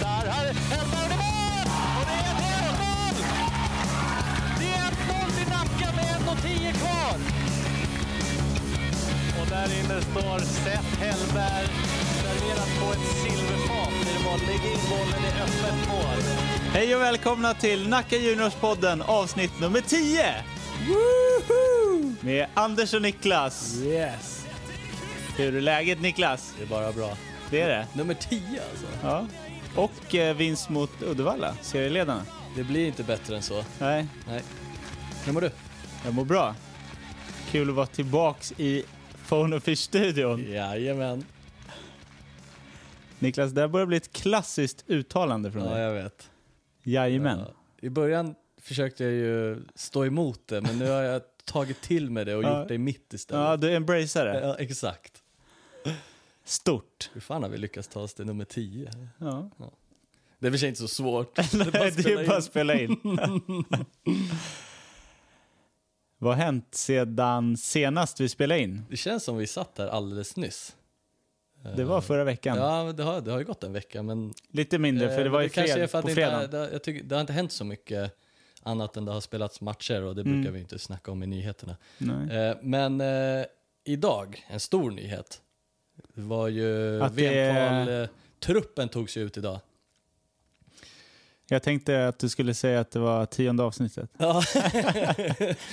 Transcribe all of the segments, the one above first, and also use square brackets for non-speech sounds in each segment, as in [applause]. Där har Elfsborg det mål! Och det är 1-0! Det är 1-0 till Nacka med 1.10 kvar. Och där inne står Seth Hellberg, serverat på ett silverfat. Det var lägg in bollen i öppet mål. Hej och välkomna till Nacka Juniors-podden avsnitt nummer 10 Woohoo! med Anders och Niklas. Yes! Hur är läget Niklas? Det är bara bra. Det är det. Nummer 10 alltså. Ja. Och eh, vinst mot Uddevalla, serieledarna. Det blir inte bättre än så. Nej, Nej. Hur mår du? jag mår bra. Kul att vara tillbaks i Phone och Fish-studion. Jajamän. Niklas, det här börjar bli ett klassiskt uttalande från Ja, dig. jag vet. Jajamän. Ja. I början försökte jag ju stå emot det, men nu har jag tagit till mig det och Ja. gjort det i mitt istället. Ja, du embracear det. Ja, exakt. Stort. Hur fan har vi lyckats ta oss till nummer 10? Ja. Det är väl inte så [laughs] svårt. Nej, det är bara att spela in. [laughs] Vad har hänt sedan senast vi spelade in? Det känns som vi satt här alldeles nyss. Eh, Det var förra veckan. Ja, men det har, det har ju gått en vecka, men Lite mindre, för det Eh, var men ju kanske är fred, för att på det inte fredagen. Är, det, jag tycker, det har inte hänt så mycket annat än det har spelats matcher och det Mm. brukar vi inte snacka om i nyheterna. Nej. Eh, men eh, idag, en stor nyhet, var ju Att det är- VM-kval-truppen togs ju [laughs] ut idag. Jag tänkte att du skulle säga att det var tionde avsnittet. [laughs] Ja,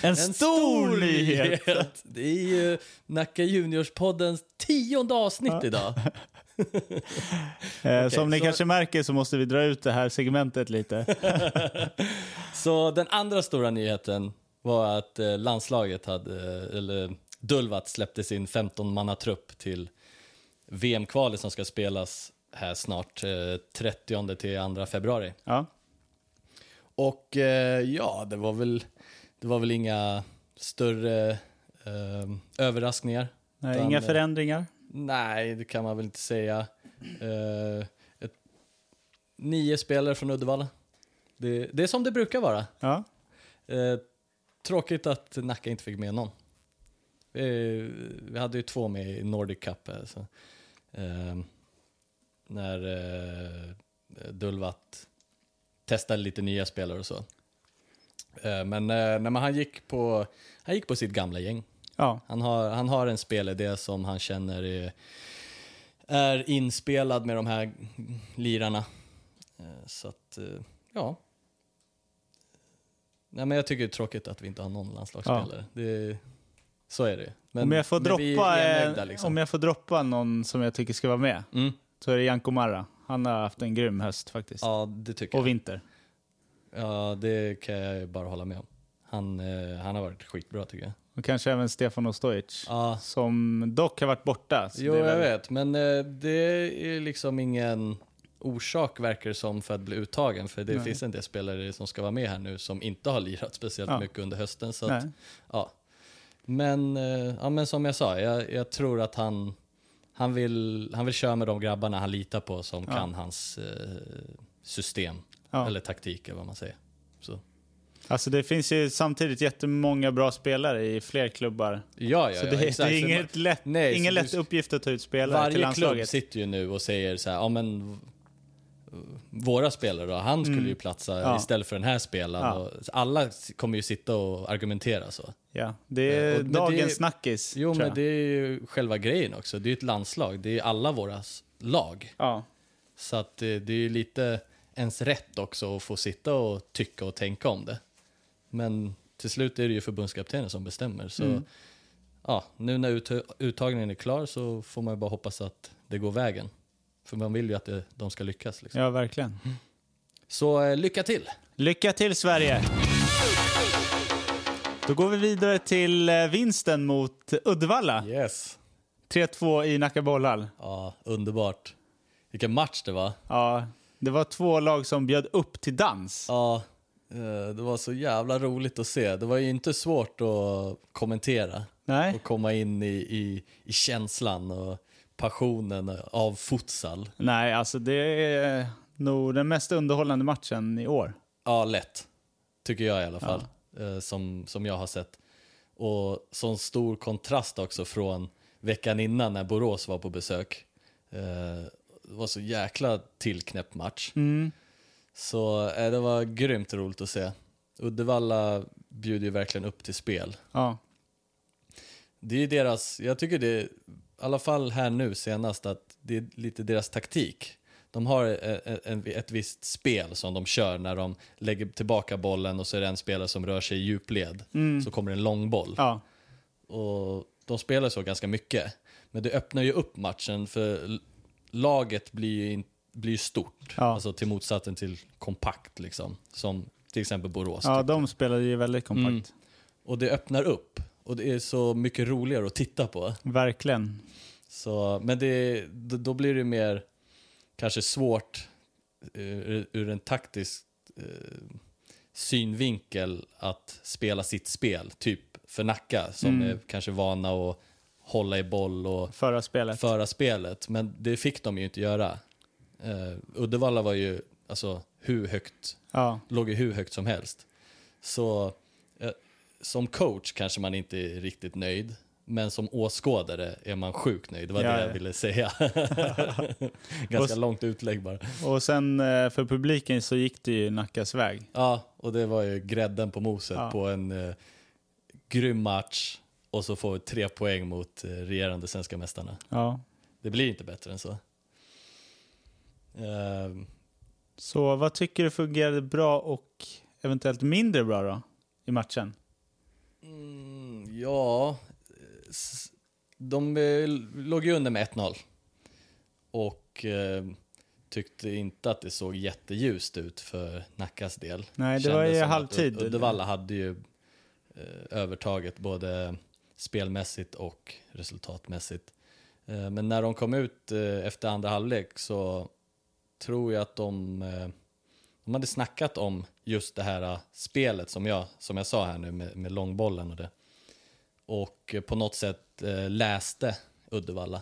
En, stor [laughs] nyhet! nyhet. Det är ju Nacka Juniors-poddens tionde avsnitt idag. Eh, Okej, Som ni så- kanske märker så måste vi dra ut det här segmentet lite. Så den andra stora nyheten var att eh, landslaget hade, eh, eller Dulvat släppte sin 15-mannatrupp till VM-kvalet som ska spelas här snart, eh, 30 till 2 februari. Ja. Och eh, ja, det var väl, det var väl inga större eh, överraskningar. Nej, Utan, inga eh, förändringar. Nej, det kan man väl inte säga. Eh, ett, nio spelare från Uddevalla. Det, det är som det brukar vara. Ja. Eh, tråkigt att Nacka inte fick med någon. Eh, vi hade ju två med i Nordic Cup. eh, så, eh, när eh, Dulvat testade lite nya spelare och så. Eh, men eh, nej, men han, gick på, han gick på sitt gamla gäng. ja. Han har, han har en spelidé som han känner är, är inspelad med de här lirarna. Eh, Så att, eh, ja. Nej, men jag tycker det är tråkigt att vi inte har någon landslagsspelare. Det, så är det men, om, jag får men vi droppa, är eh, nöjda, liksom. om jag får droppa någon som jag tycker ska vara med mm. så är det Janko Marra. Han har haft en grym höst faktiskt. Ja, det tycker Och jag. vinter. Ja, det kan jag ju bara hålla med om. Han, eh, han har varit skitbra tycker jag. Och kanske även Stefan Ostojic. Ja, Som dock har varit borta. så Jo, det är jag väl- vet, men eh, det är liksom ingen orsak verkar det som för att bli uttagen. För det Nej. finns en del spelare som ska vara med här nu som inte har lirat speciellt Ja. mycket under hösten. Så att, Nej. ja. Men, eh, ja, men som jag sa, jag, jag tror att han, han, vill, han vill köra med de grabbarna han litar på som Ja. kan hans eh, system Ja. eller taktik eller vad man säger. Så. Alltså det finns ju samtidigt jättemånga bra spelare i fler klubbar. Ja, ja, Så ja, det, det exakt. är Så inget lätt, nej, ingen så du- lätt uppgift att ta ut spelare till Varje klubb landslaget. sitter ju nu och säger så här, ja men v- våra spelare då, han skulle ju platsa Ja. istället för den här spelaren. Ja. Och alla s- kommer ju sitta och argumentera så. Ja, det är Eh, och- men dagens det- snackis. Jo tror men jag. det är ju själva grejen också, det är ju ett landslag, det är ju alla våra s- lag. Ja, Så att eh, det är ju lite ens rätt också att få sitta och tycka och tänka om det. Men till slut är det ju förbundskaptenen som bestämmer. Så ja, nu när ut- uttagningen är klar så får man ju bara hoppas att det går vägen. För man vill ju att det, de ska lyckas. Liksom. ja, verkligen. Så eh, lycka till! Lycka till Sverige! Då går vi vidare till eh, vinsten mot Uddevalla. Yes. 3-2 i Nacka bollhall. Ja, underbart. Vilken match det var. Ja, det var två lag som bjöd upp till dans. Ja, eh, det var så jävla roligt att se. Det var ju inte svårt att kommentera. Nej, och komma in i, i, i känslan och passionen av futsal. Nej alltså det är nog den mest underhållande matchen i år. Ja, lätt. Tycker jag i alla fall. Eh, Som, som jag har sett. Och sån stor kontrast också från veckan innan när Borås var på besök. Eh, var så jäkla tillknäppt match. Mm. Så eh, det var grymt roligt att se. Uddevalla bjuder ju verkligen upp till spel. Ja. Det är ju deras, jag tycker det, är- i alla fall här nu senast, att det är lite deras taktik. De har eh, eh, en- ett visst spel som de kör när de lägger tillbaka bollen och så är det en spelare som rör sig i djupled. Mm. Så kommer det en långboll. ja. Och de spelar så ganska mycket. Men det öppnar ju upp matchen för l- laget blir ju in, blir ju stort. Ja. Alltså till motsatsen till kompakt liksom. Som till exempel Borås. Ja, de spelade ju väldigt kompakt. Och det öppnar upp. Och det är så mycket roligare att titta på. Verkligen. Så, men det, d- då blir det mer kanske svårt eh, ur, ur en taktisk eh, synvinkel att spela sitt spel. Typ för Nacka som är kanske vana att hålla i boll och Förra spelet. föra spelet. Men det fick de ju inte göra. Eh, Uddevalla var ju alltså, hur högt, Ja. låg ju hur högt som helst. Så eh, som coach kanske man inte är riktigt nöjd. Men som åskådare är man sjukt nöjd. Det var Ja, det jag ja. [laughs] ville säga. Ganska långt utlägg bara. Och sen eh, för publiken så gick det ju Nackas väg. Ja, och det var ju grädden på moset Ja. på en eh, grym match. Och så får vi tre poäng mot eh, regerande svenska mästarna. Ja. Det blir inte bättre än så. Ehm, Så vad tycker du fungerade bra och eventuellt mindre bra då i matchen? Mm, ja, s- de eh, låg ju under med 1-0 och eh, tyckte inte att det såg jätteljust ut för Nackas del. Nej, det Kändes var ju som att halvtid. Ud- Uddevalla hade ju eh, övertaget både spelmässigt och resultatmässigt. Eh, men när de kom ut eh, efter andra halvlek så tror jag att de, eh, de hade snackat om just det här eh, spelet som jag, som jag sa här nu med, med långbollen och det. Och eh, på något sätt eh, läste Uddevalla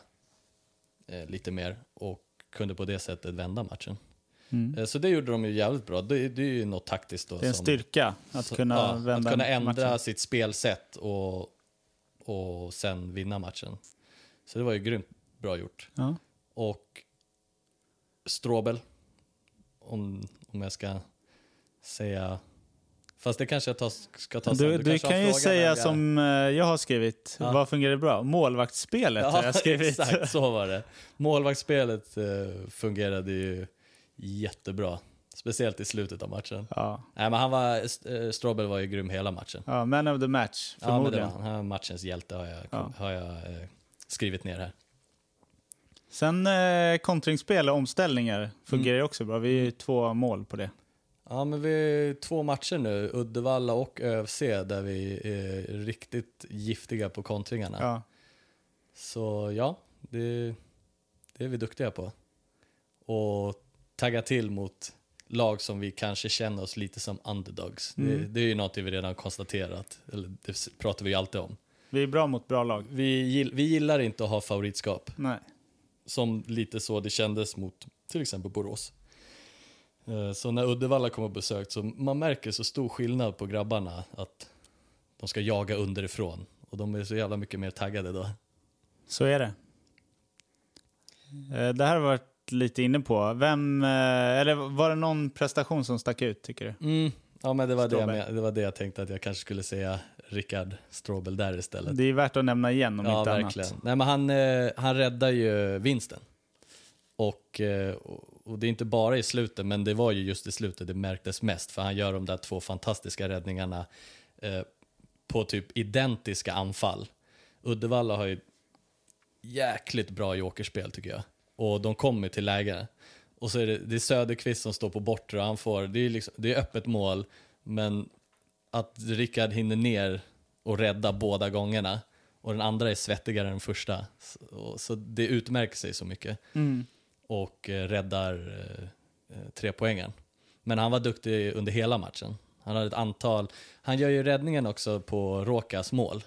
eh, lite mer och kunde på det sättet vända matchen. Mm. Eh, Så det gjorde de ju jävligt bra. Det, det är ju något taktiskt då. Det är en som- styrka att så- kunna ja, vända Att kunna ändra matchen. sitt spelsätt och, och sen vinna matchen. Så det var ju grymt bra gjort. Ja. Och Stråbel, om, om jag ska säga... Fast det kanske jag ta, ska ta sen. Du, du kanske har kan ju frågan säga när vi är- som eh, jag har skrivit, Ja. vad fungerade bra? Målvaktsspelet har [laughs] jag skrivit. exakt så var det. Målvaktsspelet eh, fungerade ju jättebra. Speciellt i slutet av matchen. [laughs] Ja. Nej, men han var, eh, Strobel var ju grym hela matchen. ja, man of the match Ja, men det förmodligen. var han. han. var Matchens hjälte har jag, Ja. har jag eh, skrivit ner här. Sen eh, kontringsspel och omställningar fungerar Mm. ju också bra. Vi är ju två mål på det. Ja, men vi två matcher nu, Uddevalla och ÖFC, där vi är riktigt giftiga på kontringarna. Ja. Så ja, det, det är vi duktiga på. Och tagga till mot lag som vi kanske känner oss lite som underdogs. Det, det är ju något vi redan konstaterat, eller det s- pratar vi ju alltid om. Vi är bra mot bra lag. Vi, gill- vi gillar inte att ha favoritskap, Nej. som lite så det kändes mot till exempel Borås. Eh, Så när Uddevalla kom och besökt så man märker så stor skillnad på grabbarna att de ska jaga underifrån och de är så jävla mycket mer taggade då. Så är det. Eh, Det här har vi varit lite inne på. Vem, eh, eller var det någon prestation som stack ut tycker du? Mm. Ja, men det var det, jag, Stråberg. men- det var det jag tänkte att jag kanske skulle säga Rickard Stråbel där istället. Det är värt att nämna igen om ja, inte verkligen. annat. Nej, men han, eh, han räddar ju vinsten. Och, eh, och- och det är inte bara i slutet, men det var ju just i slutet det märktes mest. För han gör de där två fantastiska räddningarna eh, på typ identiska anfall. Uddevalla har ju jäkligt bra jokerspel tycker jag. Och de kommer till läge. Och så är det, det är Söderqvist som står på bortre och han får, det är, liksom, det är öppet mål, men att Rickard hinner ner och rädda båda gångerna och den andra är svettigare än den första. Så, och, så det utmärker sig så mycket Mm. och eh, räddar eh, eh, tre poängen. Men han var duktig under hela matchen. Han hade ett antal, han gör ju räddningen också på Råkas mål.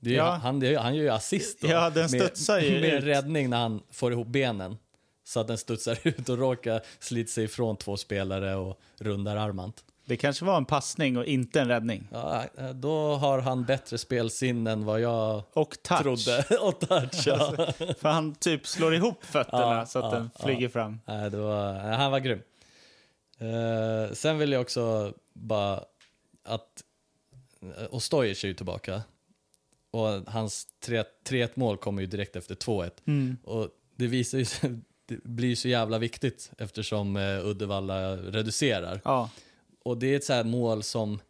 Det är ju, Ja. han, det är, han gör ju assist då, Ja, den studsar ju Med ut. en räddning när han får ihop benen. [laughs] Så att den studsar ut och Råka sliter sig ifrån två spelare och rundar armant. Det kanske var en passning och inte en räddning. Ja, eh, då har han bättre spelsinne än vad jag Och touch. trodde. [laughs] Och touch, ja. För han typ slår ihop fötterna Ja, så att ja, den ja. flyger fram. Nej, det var, nej, han var grym. Eh, sen vill jag också bara att... eh, Ostojic är ju tillbaka. Och hans 3-1 mål kommer ju direkt efter 2-1. Och det visar ju sig- [laughs] det blir ju så jävla viktigt eftersom eh, Uddevalla reducerar. Ja, Och det är ett så här mål som...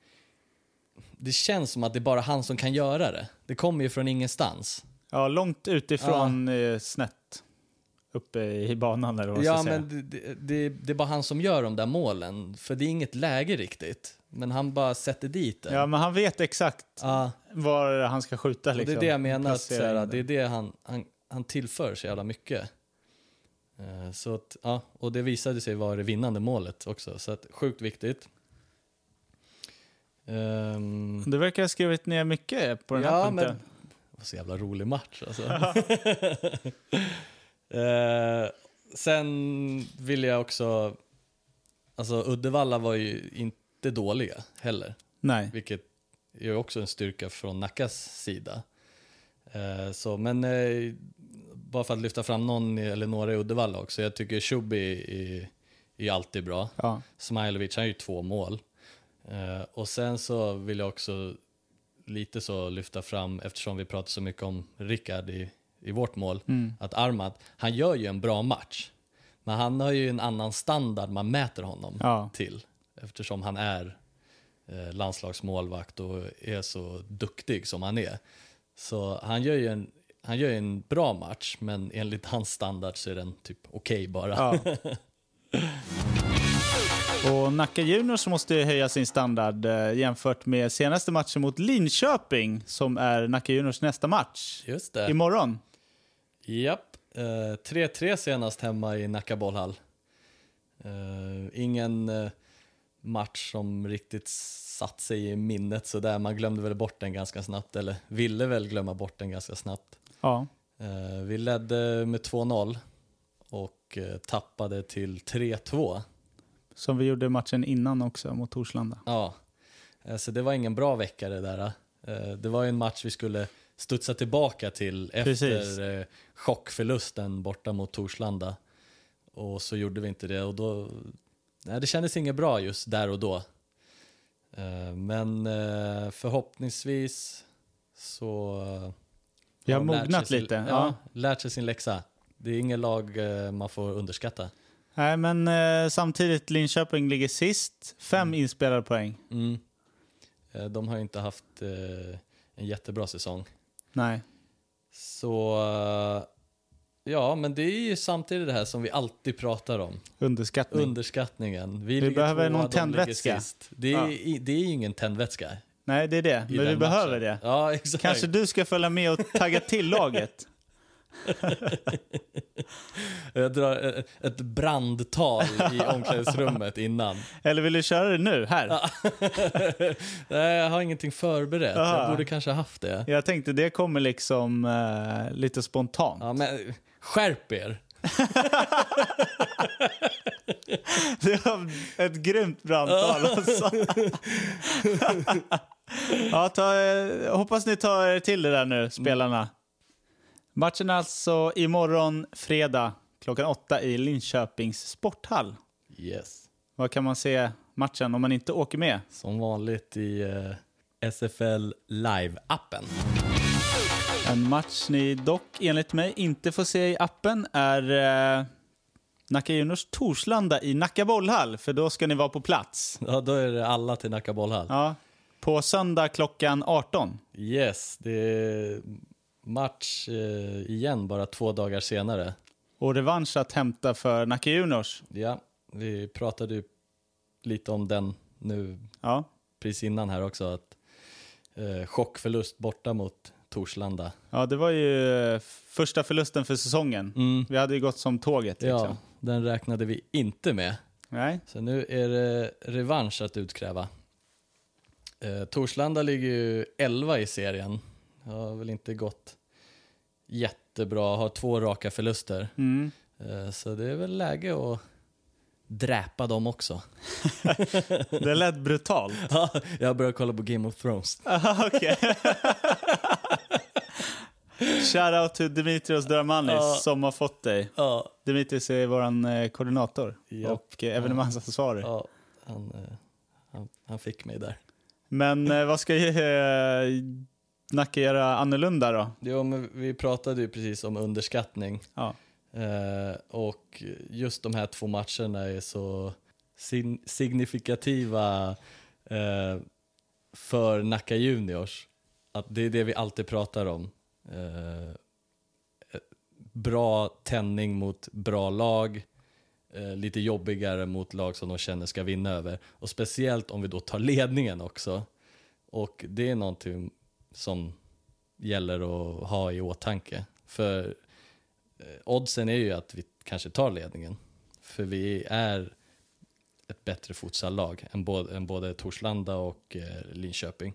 Det känns som att det är bara han som kan göra det. Det kommer ju från ingenstans. ja långt utifrån eh, snett. Uppe i banan eller vad man Ja, ska säga. men det, det- det, det är bara han som gör de där målen, för det är inget läge riktigt. Men han bara sätter dit den. Ja, men han vet exakt Ja, var han ska skjuta. och det Liksom. är det jag menar, att, så här, Placeringen. det är det han, han, han tillför så jävla mycket. Eh, Så att, ja, och det visade sig vara det vinnande målet också, så att, sjukt viktigt. Ehm, Du verkar ha skrivit ner mycket på den här Ja, punkten. men- Det var så jävla rolig match [laughs] alltså. [laughs] eh, sen vill jag också... Alltså Uddevalla var ju inte dåliga heller, Nej. vilket är ju också en styrka från Nackas sida. Eh, så, men eh, bara för att lyfta fram någon i- eller några i Uddevalla också. Jag tycker Chubby är, är alltid bra. Ja. Smailovic, han har ju två mål. Eh, och sen så vill jag också lite så lyfta fram, eftersom vi pratar så mycket om Rickard i, i vårt mål, Mm. att Armad, han gör ju en bra match. Men han har ju en annan standard man mäter honom Ja. till. Eftersom han är eh, landslagsmålvakt och är så duktig som han är. Så han gör ju en, han gör ju en bra match, men enligt hans standard så är den typ okej bara. [laughs] Ja. Och Nacka Juniors måste ju höja sin standard eh, jämfört med senaste matchen mot Linköping som är Nacka Juniors nästa match Just det. imorgon. Japp. Eh, 3-3 senast hemma i Nacka bollhall. Eh, ingen eh, match som riktigt satt sig i minnet sådär. Man glömde väl bort den ganska snabbt, eller ville väl glömma bort den ganska snabbt. Ja. Eh, vi ledde med 2-0 och eh, tappade till 3-2. Som vi gjorde matchen innan också mot Torslanda. Ja, Eh, så det var ingen bra vecka det där. Eh, Det var ju en match vi skulle studsa tillbaka till Precis. efter eh, chockförlusten borta mot Torslanda. Och så gjorde vi inte det och då... Nej, det kändes inget bra just där och då. Eh, Men eh, förhoppningsvis så... eh, Vi har de lärt sig mognat sin- lite. Ja, Ja. lärt sig sin läxa. Det är inget lag eh, man får underskatta. Nej, men eh, samtidigt Linköping ligger sist. Fem inspelade poäng. Mm. Eh, De har ju inte haft eh, en jättebra säsong. Nej. Så eh, ja, men det är ju samtidigt det här som vi alltid pratar om. Underskattning. Underskattningen. Vi, ligger Mm. behöver tvåa, någon de ligger tändvätska. sist. Det Ja. är, i- det är ju ingen tändvätska. Nej, det är det. i Men vi den behöver matchen. [laughs] det. Ja, exakt. Kanske du ska följa med och tagga [laughs] till laget. Jag drar eh, ett brandtal [laughs] i omklädningsrummet innan. Eller vill du köra det nu, här? [laughs] Nej, jag har ingenting förberett. Aha. Jag borde kanske ha haft det. Jag tänkte det kommer liksom eh, lite spontant. Ja, men skärp er. [laughs] Det var ett grymt brandtal alltså. ja, ta, eh, hoppas ni tar er till det där nu, spelarna. Matchen är alltså imorgon fredag klockan åtta i Linköpings sporthall. Yes. Var kan man se matchen om man inte åker med? Som vanligt i eh, SFL Live-appen. En match ni dock enligt mig inte får se i appen är eh, Nacka Juniors Torslanda i Nacka bollhall, för då ska ni vara på plats. Ja, då är det alla till Nacka bollhall. Ja, på söndag klockan 18. Yes, det är match eh, igen bara två dagar senare. Och revansch att hämta för Nacka Juniors. Ja, vi pratade ju lite om den nu Ja, precis innan här också. Att, eh, chockförlust borta mot Torslanda. ja det var ju eh, första förlusten för säsongen. Vi hade ju gått som tåget. Liksom. Mm. Ja, den räknade vi inte med. Nej? Så nu är det revansch att utkräva. Eh, Torslanda ligger ju 11 i serien. Har väl inte gått jättebra, har två raka förluster. Mm. Eh, Så det är väl läge att dräpa dem också. Det lät brutalt. [laughs] jag börjar kolla på Game of Thrones. Aha, [laughs] okej. Shoutout till Dimitrios Dramanis Ja. som har fått dig. Ja, Dimitris är vår eh, koordinator Japp. och eh, evenemangsansvarig. ja han, eh, han, han fick mig där. Men eh, vad ska eh, Nacka göra annorlunda då? Jo, men vi pratade ju precis om underskattning Ja. eh, och just de här två matcherna är så sin- signifikativa eh, för Nacka Juniors. Att det är det vi alltid pratar om. Eh, eh, bra tändning mot bra lag, eh, lite jobbigare mot lag som de känner ska vinna över. Och speciellt om vi då tar ledningen också. Och det är någonting som gäller att ha i åtanke. För eh, oddsen är ju att vi kanske tar ledningen. För vi är ett bättre futsallag än både, än både Torslanda och eh, Linköping.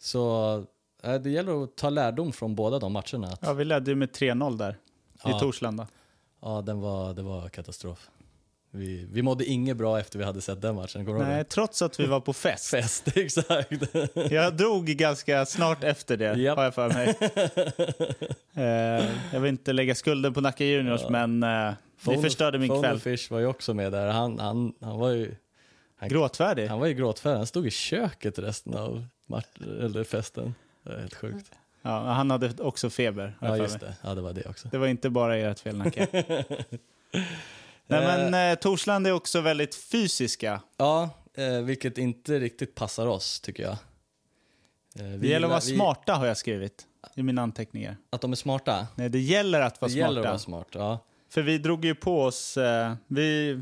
Så eh, det gäller att ta lärdom från båda de matcherna. Att, ja, vi ledde ju med 3-0 där Ja. i Torslanda. Ja, den var, det var katastrof. Vi, vi mådde inget bra efter vi hade sett den matchen. Kommer du ihåg Nej, det? trots att vi var på [laughs] fest. Fest, exakt. Jag drog ganska snart efter det, Japp. har jag för mig. eh, jag vill inte lägga skulden på Nacka Juniors, men eh, ni förstörde min kväll. Fish var ju också med där. Han, han, han var ju Gråtfärdig. Han var ju gråtfärdig, han stod i köket resten av match, eller festen. Det är helt sjukt. Ja, han hade också feber, har Ja, Mm. jag för just mig. det. Ja, det var det också. Det var inte bara ert fel, [laughs] Nacka. Nej, men eh, Torslanda är också väldigt fysiska. Ja, eh, vilket inte riktigt passar oss, tycker jag. Eh, vi Det gäller att vara gillar- vi- smarta, har jag skrivit i mina anteckningar. Att de är smarta. Nej, det gäller att vara det smarta. gäller att vara smart, ja. För vi drog ju på oss... Eh, vi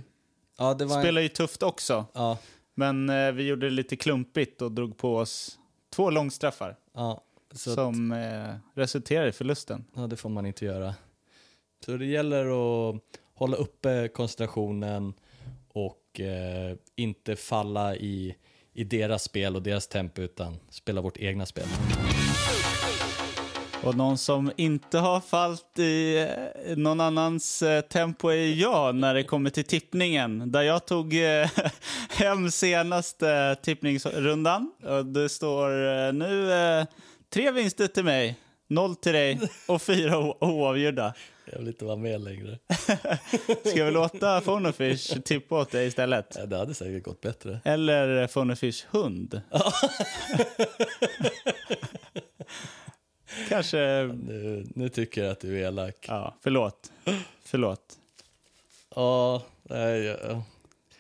Ja, det var en- spelar ju tufft också, ja, men eh, vi gjorde det lite klumpigt och drog på oss två långstraffar ja. Så att- som eh, resulterade i förlusten. Ja, det får man inte göra. Så det gäller att hålla uppe koncentrationen och eh, inte falla i, i deras spel och deras tempo utan spela vårt egna spel. Och någon som inte har fallit i eh, någon annans eh, tempo är jag när det kommer till tippningen. Där jag tog eh, [laughs] hem senaste tippningsrundan. Och det står eh, nu eh, tre vinster till mig, noll till dig och fyra o- oavgjorda. Jag vill inte vara med längre. Ska vi låta Fonofish tippa åt dig istället? Ja, Det hade säkert gått bättre. Eller Fonofish [laughs] hund? Kanske... Nu, nu tycker jag att du är elak. Ja, förlåt. Förlåt. Ja, nej, ja.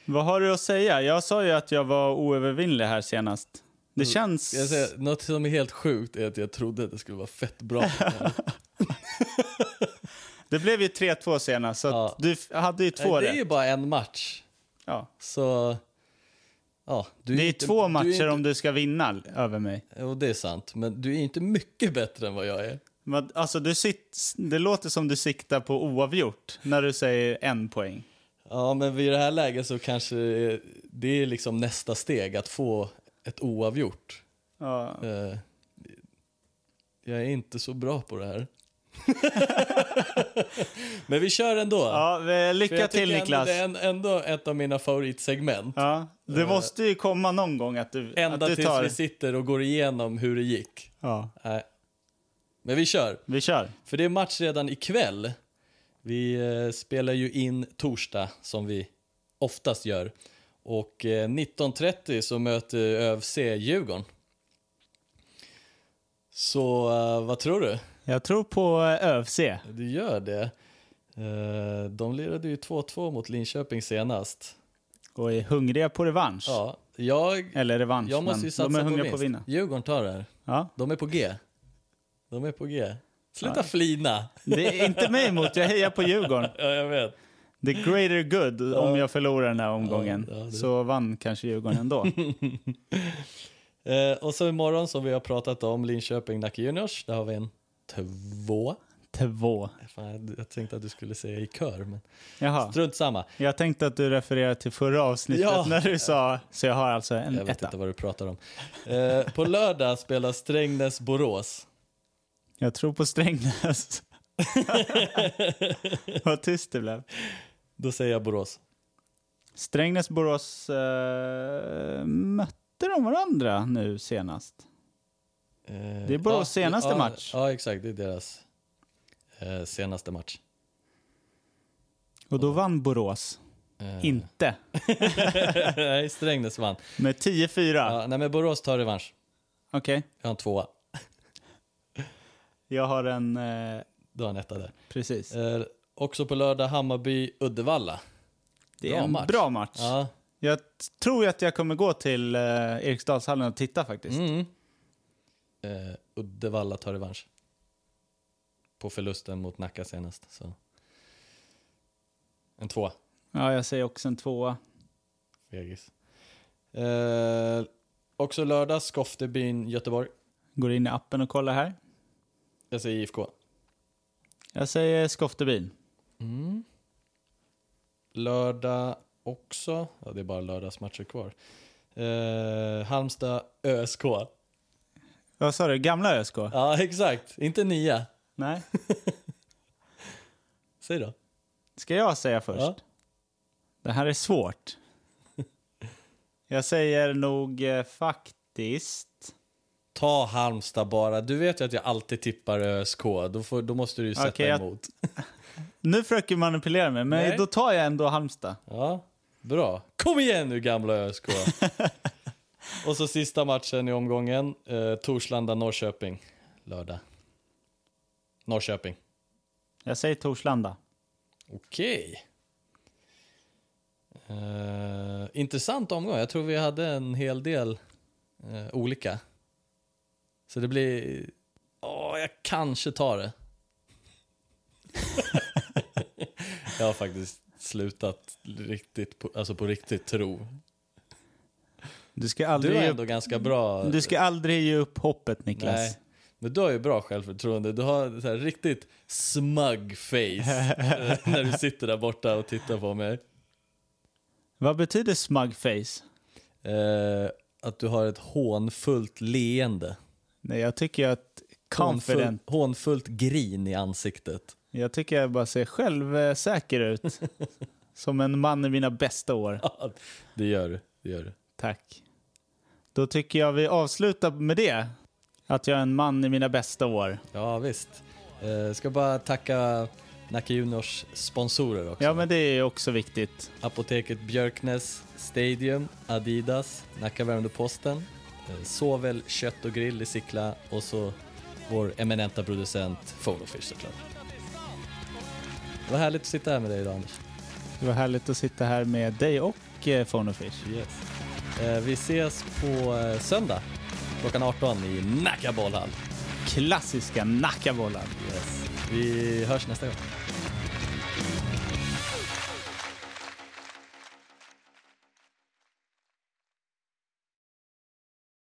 Vad har du att säga? Jag sa ju att jag var oövervinnlig här senast. Det känns... Mm. Jag säger, något som är helt sjukt är att jag trodde att det skulle vara fett [laughs] bra. Det blev ju 3-2 senast, så Ja. att du f- hade ju två Nej, det är rätt. ju bara en match. Ja. Så... Ja, du Det är ju inte- du två är matcher inte- om du ska vinna l- över mig. Jo, det är sant. Men du är inte mycket bättre än vad jag är. Men, Alltså, du sitt... Det låter som du siktar på oavgjort när du säger en poäng. Ja, men vid det här läget så kanske det är liksom nästa steg att få ett oavgjort. Ja. Eh, Jag är inte så bra på det här. [laughs] men vi kör ändå. Ja, vi- För lycka jag tycker till, Niklas. Ändå, det är en- ändå ett av mina favoritsegment. Ja. Det måste ju komma någon gång att du, Eh, Ända att du tills tar... vi sitter och går igenom hur det gick. Ja. Nej. Men vi kör. Vi kör. För det är match redan ikväll. Vi eh, spelar ju in torsdag som vi oftast gör. Och eh, 19.30 så möter ÖFC Djurgården. Så eh, vad tror du? Jag tror på eh, ÖFC. Du gör det. Eh, de lirade ju 2-2 mot Linköping senast. Och är hungriga på revansch. Ja, jag, Eller revansch, jag måste ju men satsa de är hungriga på, på att vinna. vinst. Djurgården tar det här. Ja. De är på G. De är på G. Sluta flina. Det är inte mig emot, jag hejar på Djurgården. Ja, jag vet. The greater good, om jag förlorar den här omgången. Ja, ja, det- Så vann kanske Djurgården ändå. Eh, och så imorgon som vi har pratat om Linköping-Nacka Juniors, där har vi en [laughs] två. Eh, Två. Fan, jag- jag tänkte att du skulle säga i kör, men Jaha. strunt samma. Jag tänkte att du refererade till förra avsnittet Ja. när du sa, så jag har alltså en Jag vet etta. inte vad du pratar om. Eh, på lördag spelar Strängnäs-Borås. Jag tror på [laughs] Strängnäs. [laughs] Vad tyst det blev. Då säger jag Borås. Strängnäs-Borås eh, mötte de varandra nu senast. Eh, Det är Borås senaste ja, match. Ja, exakt. Det är deras eh, senaste match. Och då vann Borås. Eh, Inte. [laughs] nej, Strängnäs vann. Med 10-4. Ja, nej, men Borås tar revansch. Okej. Jag har en tvåa. Jag har en... Eh, Du har en etta där. precis. Eh, också på lördag, Hammarby-Uddevalla. Det är bra en match. bra match. Ja, Jag t- tror ju att jag kommer gå till eh, Eriksdalshallen och titta faktiskt. Mm. Eh, Uddevalla tar revansch. På förlusten mot Nacka senast. Så. En tvåa, Ja, jag säger också en tvåa. fegis. Eh, också lördag, Skoftebyn, Göteborg. Går in i appen och kollar här. Jag säger IFK. Jag säger Skoftebyn. Lördag också. Ja, det är bara lördagsmatcher kvar. Eh, Halmstad, ÖSK. Vad sa du? Gamla ÖSK? Ja, [laughs] exakt. Inte nia. Nej. Säg då. Ska jag säga först? Ja. Det här är [laughs] svårt. Jag säger nog eh, faktiskt... Ta Halmstad bara. Du vet ju att jag alltid tippar ÖSK. Då, får, då måste du ju sätta Okej, jag- emot. Nu försöker du manipulera mig, men Nej. då tar jag ändå Halmstad. Ja, bra. Kom igen nu [laughs] gamla ÖSK! och så sista matchen i omgången, eh, Torslanda-Norrköping, lördag. Norrköping. Jag säger Torslanda. Okej. Eh, intressant omgång. Jag tror vi hade en hel del eh, olika. Så det blir... Åh, jag kanske tar det. [laughs] jag har faktiskt slutat riktigt på, alltså på riktigt tro. Du ska Du aldrig, är ge ändå upp, ganska bra. eh, du ska aldrig ge upp hoppet, Niklas. Nej. Men du har ju bra självförtroende. Du har så här riktigt smug [laughs] face eh, när du sitter där borta och tittar på mig. Vad betyder smug face? Eh, att du har ett hånfullt leende. Nej, jag tycker att confident. Hånfull, hånfullt grin i ansiktet. [laughs] Jag tycker jag bara ser självsäker ut. [laughs] Som en man i mina bästa år. Ja, det gör du. Det gör du. Tack. Då tycker jag vi avslutar med det. Att jag är en man i mina bästa år. Ja, visst. Eh, ska bara tacka Nacka Juniors sponsorer också. Ja, men det är också viktigt. Apoteket Björknäs, Stadium, Adidas, Nacka Värmdö-Posten, eh, Såväl Kött och Grill i Sickla och så vår eminenta producent Photofish såklart. Det var härligt att sitta här med dig idag Anders. Det var härligt att sitta här med dig och eh, Fonofish. Yes. Eh, Vi ses på eh, söndag klockan 18 i Nacka bollhall. Klassiska Nackabollar. Vi hörs nästa gång.